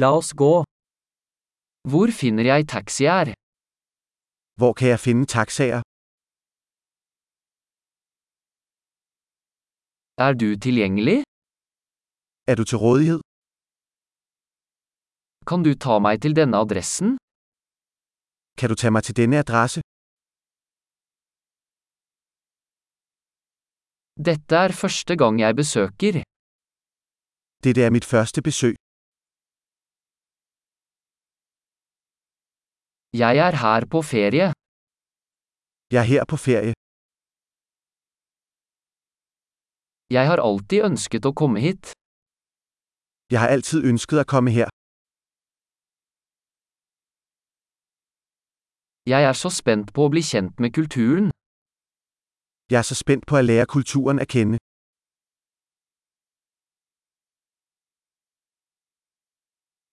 La oss gå. Hvor finner jeg taxier? Hvor kan jeg finde taxaer? Er du tilgjengelig? Er du til rådighed? Kan du ta meg til denne adressen? Kan du tage mig til denne adresse? Dette er første gang jeg besøker. Dette er mit første besøg. Jeg er her på ferie. Jeg er her på ferie. Jeg har alltid ønsket å komme hit. Jeg har altid ønsket at komme her. Jeg er så spent på å bli kjent med kulturen. Jeg er så spændt på at lære kulturen at kende.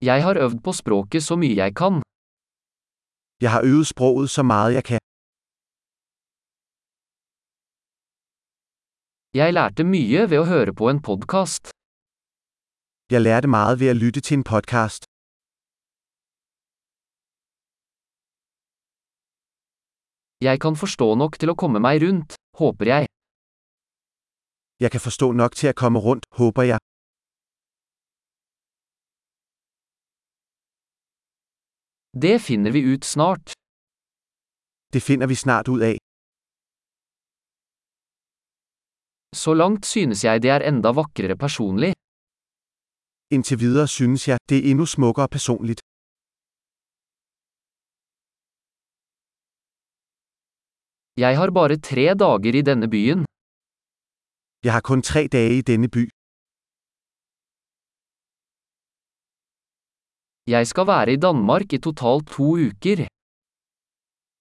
Jeg har øvd på språket så mye jeg kan. Jeg har øvet sproget så meget jeg kan. Jeg lærte mye ved å høre på en podkast. Jeg lærte meget ved at lytte til en podcast. Jeg kan forstå nok til å komme meg rundt, håper jeg. Jeg kan forstå nok til at komme rundt, håber jeg. Det finner vi ut snart. Det finder vi snart ud af. Så langt synes jeg det er enda vakrere personlig. Indtil videre synes jeg, det er endnu smukkere personligt. Jeg har bare tre dager i denne byen. Jeg har kun tre dage i denne by. Jeg skal være i Danmark i totalt to uker.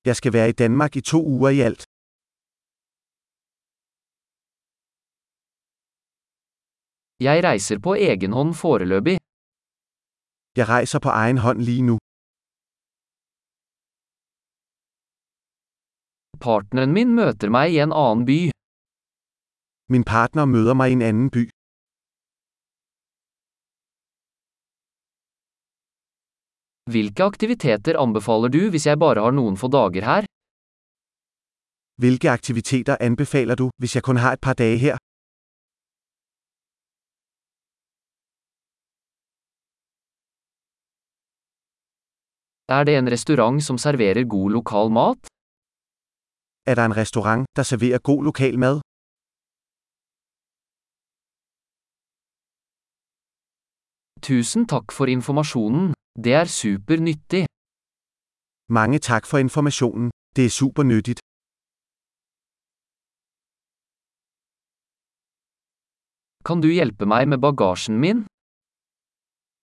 Jeg skal være i Danmark i to uger i alt. Jeg reiser på egen hånd foreløpig. Jeg rejser på egen hånd lige nu. Partneren min møter meg i en annen by. Min partner møder mig i en anden by. Hvilke aktiviteter anbefaler du hvis jeg bare har noen få dager her? Hvilke aktiviteter anbefaler du, hvis jeg kun har et par dage her? Er det en restaurant som serverer god lokal mat? Er der en restaurant, der serverer god lokal mad? Tusen takk for informasjonen. Det er super nyttig. Mange tak for informationen. Det er super nyttigt. Kan du hjelpe meg med bagasjen min?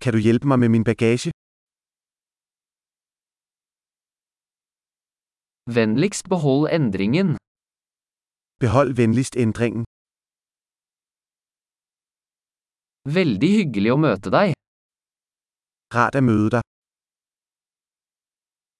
Kan du hjælpe mig med min bagage? Vennligst behold endringen. Behold venligst ændringen. Veldig hyggelig å møte deg. Rart at møde dig.